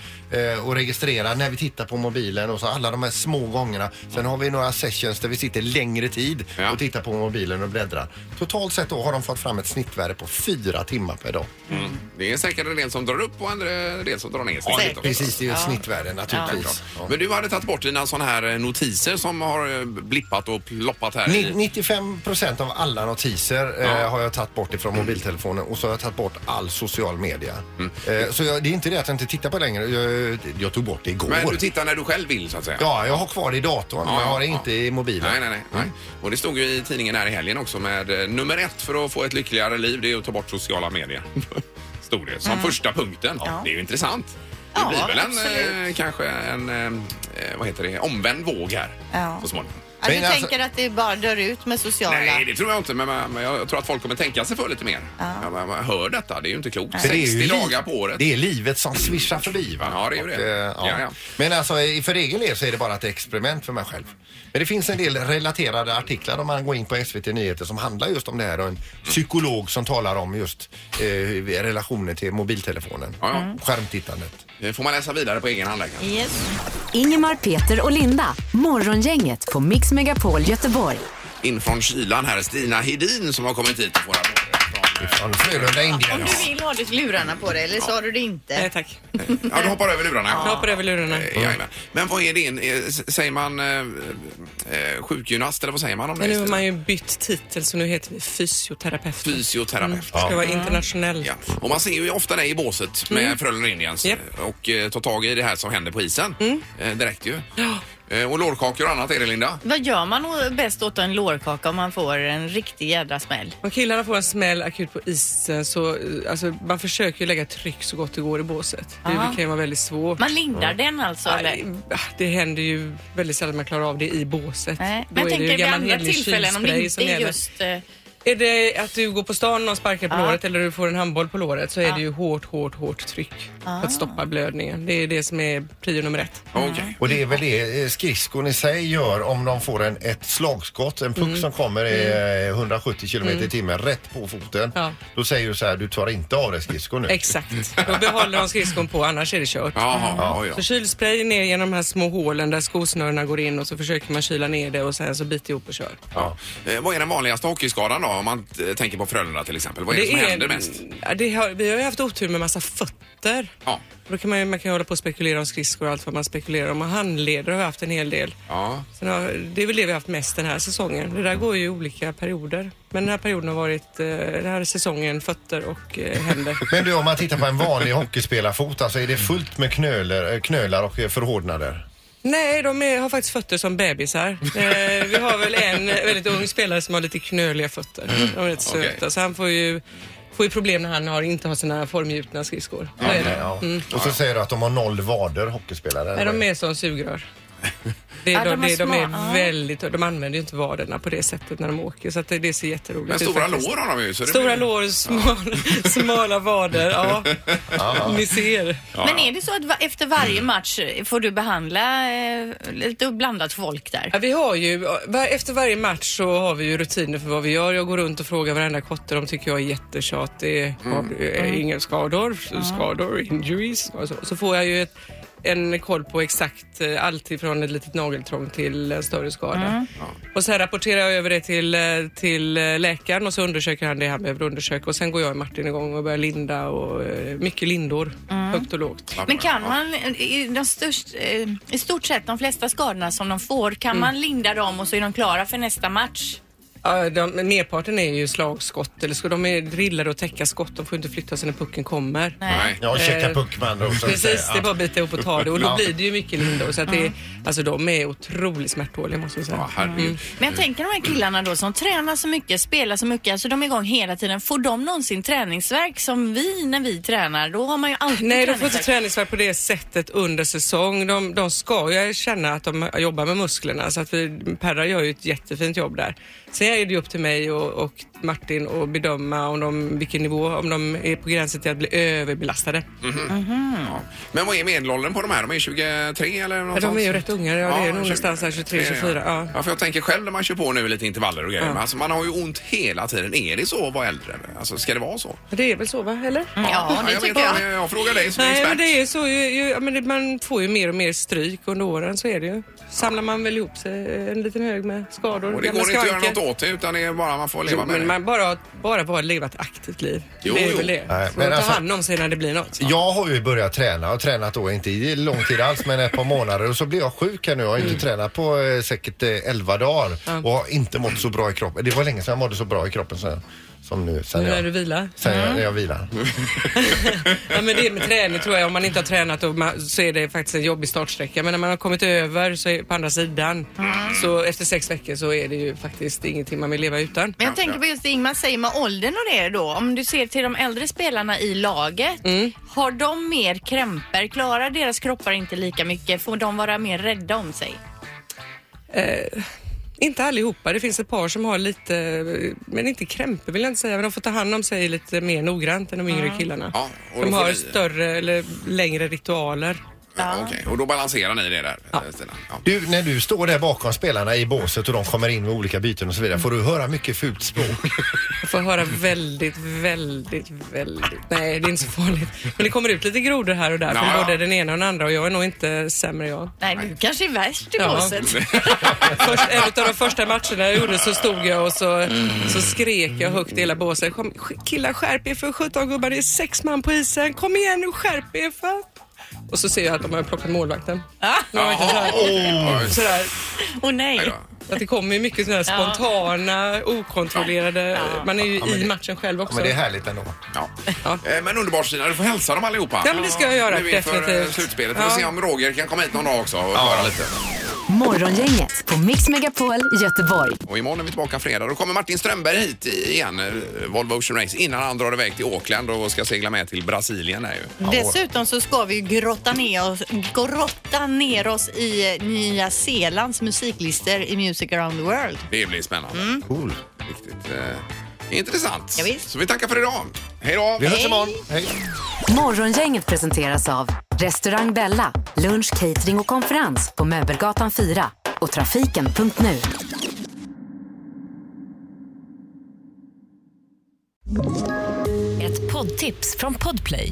[SPEAKER 4] eh, och registrerar när vi tittar på mobilen och så alla de här små gångerna. Sen har vi några sessions där vi sitter längre tid och tittar på mobilen och bläddrar. Totalt sett då har de fått fram ett snittvärde på fyra timmar per dag.
[SPEAKER 2] Mm. Det är säkert en del som drar upp och en del som drar ner.
[SPEAKER 4] Mm. Ja,
[SPEAKER 2] Säkert också.
[SPEAKER 4] precis, det är ju ett snittvärde naturligtvis.
[SPEAKER 2] Ja. Men du hade tagit bort dina sådana här notiser som har eh, blippat och ploppat här.
[SPEAKER 4] Ni-
[SPEAKER 2] i-
[SPEAKER 4] 95 procent av alla notiser eh, har jag tagit bort ifrån mobiltelefonen och så har jag tagit bort all social media.
[SPEAKER 2] Mm.
[SPEAKER 4] Eh, så jag, det är inte det att jag inte tittar på det längre. Jag, jag tog bort det igår.
[SPEAKER 2] Men du tittar när du själv vill så att säga.
[SPEAKER 4] Ja, jag har kvar det i datorn, men jag har det inte i mobilen.
[SPEAKER 2] Nej, nej, nej. nej. Och det stod ju i tidningen här i helgen också med eh, nummer ett för att få ett lyckligare liv, det är att ta bort sociala medier. stod det som första punkten. Det är ju intressant. Det
[SPEAKER 7] Ja,
[SPEAKER 2] blir väl en, eh,
[SPEAKER 7] absolut.
[SPEAKER 2] kanske en, eh, vad heter det, omvänd våg här
[SPEAKER 7] Ja.
[SPEAKER 2] så småningom.
[SPEAKER 7] Ja, du
[SPEAKER 4] alltså-
[SPEAKER 7] tänker att det bara dör ut med sociala?
[SPEAKER 2] Nej, det tror jag inte, men, men jag tror att folk kommer tänka sig för lite mer. Ja. Man, man hör detta, det är ju inte klokt.
[SPEAKER 4] För det är ju
[SPEAKER 2] 60
[SPEAKER 4] li-
[SPEAKER 2] dagar på året.
[SPEAKER 4] Det är livet som svischar förbi. Va?
[SPEAKER 2] Ja, det är ju
[SPEAKER 4] Och,
[SPEAKER 2] det.
[SPEAKER 4] eh, ja.
[SPEAKER 2] Ja, ja.
[SPEAKER 4] Men alltså, eh, för egen del så är det bara ett experiment för mig själv. Men det finns en del relaterade artiklar om man går in på SVT Nyheter som handlar just om det här och en psykolog som talar om just eh, relationen till mobiltelefonen.
[SPEAKER 2] Ja, ja.
[SPEAKER 4] Skärmtittandet.
[SPEAKER 2] Det får man läsa vidare på egen hand där, kanske.
[SPEAKER 5] Ingemar, Peter och Linda. Morgongänget på Mix Megapol Göteborg.
[SPEAKER 2] In från kylan här, Stina Hedin som har kommit hit och får rapporter.
[SPEAKER 4] Från Frölunda, Indien.
[SPEAKER 7] Om du vill har du lurarna på dig, eller så har du det inte? Nej
[SPEAKER 12] tack.
[SPEAKER 2] Ja, du hoppar över lurarna.
[SPEAKER 12] Jag hoppar över lurarna.
[SPEAKER 2] Eh, jajamän. Men vad är din, eh, s- säger man eh, eh, sjukgymnast eller vad säger man om
[SPEAKER 12] Men
[SPEAKER 2] det?
[SPEAKER 12] nu har
[SPEAKER 2] istället?
[SPEAKER 12] man ju bytt titel så nu heter vi fysioterapeut.
[SPEAKER 2] Fysioterapeut.
[SPEAKER 12] Ska vara internationell.
[SPEAKER 2] Ja. Och man ser ju ofta dig i båset med
[SPEAKER 12] Mm.
[SPEAKER 2] Frölunda Indians och eh, tar tag i det här som händer på isen
[SPEAKER 12] Mm.
[SPEAKER 2] eh, direkt ju. Eh, och lårkakor och annat är det Linda?
[SPEAKER 7] Vad gör man å- bäst åt en lårkaka om man får en riktig jädra smäll?
[SPEAKER 12] Om killarna får en smäll akut på isen så eh, alltså, man försöker ju lägga tryck så gott det går i båset. Det, det
[SPEAKER 7] Aha.
[SPEAKER 12] kan ju vara väldigt svårt.
[SPEAKER 7] Man lindar den alltså,
[SPEAKER 12] Nej, Det händer ju väldigt sällan man klarar av det i båset. Då
[SPEAKER 7] Men jag
[SPEAKER 12] är det ju
[SPEAKER 7] tänker vid
[SPEAKER 12] gammal
[SPEAKER 7] andra
[SPEAKER 12] hederlig
[SPEAKER 7] tillfällen om det
[SPEAKER 12] kylspray
[SPEAKER 7] inte
[SPEAKER 12] som
[SPEAKER 7] är
[SPEAKER 12] gäller.
[SPEAKER 7] just... eh,
[SPEAKER 12] Är det att du går på stan och någon sparkar på
[SPEAKER 7] Ja.
[SPEAKER 12] låret eller du får en handboll på låret så är det ju hårt, hårt, hårt tryck
[SPEAKER 7] Ah.
[SPEAKER 12] för att stoppa blödningen. Det är det som är prio nummer ett.
[SPEAKER 4] Och det är väl det eh, skridskon i sig gör om de får en, ett slagskott, en puck
[SPEAKER 12] Mm.
[SPEAKER 4] som kommer i eh, 170 km i
[SPEAKER 12] Mm.
[SPEAKER 4] timmen rätt på foten.
[SPEAKER 12] Ja.
[SPEAKER 4] Då säger du så här, du tar inte av dig skridskon nu.
[SPEAKER 12] Exakt. Då behåller de skridskon på, annars är det kört.
[SPEAKER 4] Jaha, ja, ja.
[SPEAKER 12] Så kylspray ner genom de här små hålen där skosnörena går in och så försöker man kyla ner det och sen så biter ihop och kör.
[SPEAKER 2] Ja. Eh, vad är den vanligaste hockeyskadan då om man eh, tänker på Frölunda till exempel? Vad är det, som händer mest?
[SPEAKER 12] Ja, Det har, vi har ju haft otur med massa fötter.
[SPEAKER 2] Ja.
[SPEAKER 12] Och Då kan man, ju, man kan ju hålla på och spekulera om skridskor och allt vad man spekulerar om. Och handleder har vi haft en hel del.
[SPEAKER 2] Ja.
[SPEAKER 12] Sen har, det är väl det vi har haft mest den här säsongen. Det där går ju i olika perioder. Men den här perioden har varit, eh, den här säsongen, fötter och eh, händer.
[SPEAKER 4] Men du, om man tittar på en vanlig hockeyspelarfot, alltså är det fullt med knölar, eh, knölar och eh, förhårdnader?
[SPEAKER 12] Nej, de är, har faktiskt fötter som bebisar. Eh, vi har väl en eh, väldigt ung spelare som har lite knöliga fötter. De är rätt
[SPEAKER 2] Okej.
[SPEAKER 12] söta, så han får ju, får ju problem när han har, inte har sina formgjutna skridskor. Så är det.
[SPEAKER 4] Ja.
[SPEAKER 12] Mm.
[SPEAKER 4] Och så säger du att de har noll vader, hockeyspelare.
[SPEAKER 12] Nej, de är som sugrör. Det
[SPEAKER 4] Ja,
[SPEAKER 12] är,
[SPEAKER 4] de
[SPEAKER 12] de,
[SPEAKER 4] är
[SPEAKER 12] det, de är
[SPEAKER 4] små, ja.
[SPEAKER 12] väldigt, de använder ju inte vaderna på det sättet när de åker så att det, det ser jätteroligt
[SPEAKER 2] Men
[SPEAKER 12] ut.
[SPEAKER 2] stora
[SPEAKER 12] faktiskt.
[SPEAKER 2] lår har de ju, så det
[SPEAKER 12] Stora
[SPEAKER 2] blir-
[SPEAKER 12] lår, smala, smala vader. Ja. Miser.
[SPEAKER 7] Men är det så att va- efter
[SPEAKER 12] Mm.
[SPEAKER 7] varje match eh, får du behandla eh, lite blandat folk där?
[SPEAKER 12] Ja, vi har ju, var- efter varje match så har vi ju rutiner för vad vi gör. Jag går runt och frågar varenda kotte. De tycker jag är jättetjatig. Har du eh, inga skador? Skador? Injuries? Och så, så får jag ju ett en koll på exakt eh, allt ifrån ett litet nageltrång till en större skada.
[SPEAKER 13] Mm.
[SPEAKER 12] Och sen rapporterar jag över det till, eh, till eh, läkaren och så undersöker han det han behöver undersöka och sen går jag och Martin igång och börjar linda och eh, mycket lindor,
[SPEAKER 3] Mm.
[SPEAKER 12] högt och lågt.
[SPEAKER 3] Men kan man, i, de störst, eh, i stort sett de flesta skadorna som de får, kan
[SPEAKER 12] Mm.
[SPEAKER 3] man linda dem och så är de klara för nästa match?
[SPEAKER 12] Ja, de, men merparten är ju slagskott eller så de är drillade och täcka skott. De får inte flytta sig när pucken kommer.
[SPEAKER 4] Nej. Ja, checka
[SPEAKER 12] Eh,
[SPEAKER 4] puck med andra ord, så att säga.
[SPEAKER 12] Precis, det är bara att bita ihop och ta det och
[SPEAKER 4] Ja.
[SPEAKER 12] då blir det ju mycket lindor. Så att det,
[SPEAKER 3] Mm.
[SPEAKER 12] alltså, de är otroligt smärttåliga måste jag säga. Mm.
[SPEAKER 3] Men jag tänker de här killarna då som tränar så mycket, spelar så mycket, alltså de är igång hela tiden. Får de någonsin träningsverk som vi när vi tränar? Då har man ju alltid
[SPEAKER 12] Nej, de får inte träningsvärk på det sättet under säsong. De, de ska ju känna att de jobbar med musklerna så att vi, Perra gör ju ett jättefint jobb där. Sen är det ju upp till mig och, och Martin att bedöma om de, vilken nivå, om de är på gränsen till att bli överbelastade.
[SPEAKER 2] Ja. Men vad är medelåldern på de här? De är 23 eller något
[SPEAKER 12] Ja, de är ju rätt unga, ja, det är nog någonstans här 23, 24. Ja.
[SPEAKER 2] Ja, för jag tänker själv när man kör på nu lite intervaller och grejer.
[SPEAKER 12] Ja.
[SPEAKER 2] Men alltså, man har ju ont hela tiden. Är det så att vara äldre? Alltså, ska det vara så?
[SPEAKER 12] Det är väl så, va? Eller?
[SPEAKER 2] Ja, det jag tycker vet inte. jag. Jag frågar dig som
[SPEAKER 12] Nej,
[SPEAKER 2] expert.
[SPEAKER 12] men det är så. Ju, ju, ja, men det, man får ju mer och mer stryk under åren, så är det ju. Samlar man väl ihop sig eh, en liten hög med skador.
[SPEAKER 2] Och det går
[SPEAKER 12] gamla
[SPEAKER 2] inte att göra
[SPEAKER 12] skavanker.
[SPEAKER 2] något åt det utan det är bara man får leva
[SPEAKER 12] Jo,
[SPEAKER 2] med
[SPEAKER 12] men
[SPEAKER 2] det.
[SPEAKER 12] man bara, bara bara leva ett aktivt liv.
[SPEAKER 2] Jo,
[SPEAKER 12] det är
[SPEAKER 2] jo.
[SPEAKER 12] väl det.
[SPEAKER 4] Nej,
[SPEAKER 12] Så
[SPEAKER 4] men
[SPEAKER 12] ta
[SPEAKER 4] alltså-
[SPEAKER 12] hand om sig när det blir något.
[SPEAKER 4] Jag har ju börjat träna och tränat då inte i lång tid alls men ett par månader och så blev jag sjuk här nu. Jag har inte tränat på eh, säkert eh, 11 dagar
[SPEAKER 12] Mm. Ja.
[SPEAKER 4] och har inte mått så bra i kroppen. Det var länge sedan jag mådde så bra i kroppen som, som nu. Sen
[SPEAKER 12] Nu när
[SPEAKER 4] jag,
[SPEAKER 12] du vilar.
[SPEAKER 4] sen jag,
[SPEAKER 12] Mm.
[SPEAKER 4] när jag vilar.
[SPEAKER 12] Ja, men det med träning tror jag, om man inte har tränat och man, så är det faktiskt en jobbig startsträcka. Men när man har kommit över så är, på andra sidan,
[SPEAKER 2] Mm.
[SPEAKER 12] så efter sex veckor så är det ju faktiskt ingenting man vill leva utan.
[SPEAKER 3] Men jag tänker på just det Ingmar säger med åldern och det då. Om du ser till de äldre spelarna i laget.
[SPEAKER 12] Mm.
[SPEAKER 3] Har de mer krämpor? Klarar deras kroppar inte lika mycket? Får de vara mer rädda om sig?
[SPEAKER 12] Eh, inte allihopa. Det finns ett par som har lite, eh, men inte krämpor vill jag inte säga, men de får ta hand om sig lite mer noggrant än de yngre
[SPEAKER 2] Mm.
[SPEAKER 12] killarna.
[SPEAKER 2] Ja, och
[SPEAKER 12] de
[SPEAKER 2] då får
[SPEAKER 12] har
[SPEAKER 2] ni-
[SPEAKER 12] större eller längre ritualer.
[SPEAKER 2] Ja. Okej, och då balanserar ni det där, ja. Stina? Ja.
[SPEAKER 4] Du, när du står där bakom spelarna i båset och de kommer in med olika byten och så vidare, får du höra mycket fult språk?
[SPEAKER 12] Jag får höra väldigt, väldigt, väldigt... Nej, det är inte så farligt. Men det kommer ut lite grodor här och där från
[SPEAKER 3] Ja.
[SPEAKER 12] både den ena och den andra och jag är nog inte sämre jag.
[SPEAKER 3] Nej, du kanske är värst i
[SPEAKER 12] Ja.
[SPEAKER 3] båset.
[SPEAKER 12] Först, en av de första matcherna jag gjorde så stod jag och så, så skrek jag högt i hela båset. Kom, sk- killar skärp er för 17 gubbar, det är sex man på isen. Kom igen nu skärp er för... Och så ser jag att de har plockat målvakten. De har inte
[SPEAKER 2] Jaha.
[SPEAKER 12] sådär.
[SPEAKER 2] Oj.
[SPEAKER 12] sådär.
[SPEAKER 3] Åh nej.
[SPEAKER 12] Att det kommer ju mycket sådana här
[SPEAKER 3] Ja.
[SPEAKER 12] spontana, okontrollerade... Man är ju i matchen själv också.
[SPEAKER 4] Ja, men det är härligt ändå.
[SPEAKER 2] Ja. Eh, Men underbart Stina, du får hälsa dem allihopa.
[SPEAKER 12] Ja, men det ska jag göra,
[SPEAKER 2] Nu inför eh,
[SPEAKER 12] definitivt.
[SPEAKER 2] slutspelet. Vi får
[SPEAKER 12] Ja.
[SPEAKER 2] se om Roger kan komma hit någon dag också och höra lite.
[SPEAKER 5] Morgongänget på Mix Megapol Göteborg.
[SPEAKER 2] Och imorgon är vi tillbaka fredag. Då kommer Martin Strömberg hit i- igen, eh, Volvo Ocean Race, innan han drar iväg till Auckland och ska segla med till Brasilien. Där ju.
[SPEAKER 3] Dessutom så ska vi ju grotta ner oss, grotta ner oss i Nya Zeelands musiklistor i Music around the world.
[SPEAKER 2] Det blir spännande.
[SPEAKER 4] Cool.
[SPEAKER 2] Riktigt eh, intressant.
[SPEAKER 3] Mm. Ja, visst.
[SPEAKER 2] Så vi tackar för idag. Hej då!
[SPEAKER 5] Vi hörs Hej. imorgon. Morgongänget presenteras av Restaurang Bella, lunch, catering och konferens på Möbelgatan 4 och trafiken.nu.
[SPEAKER 14] Ett poddtips från Podplay.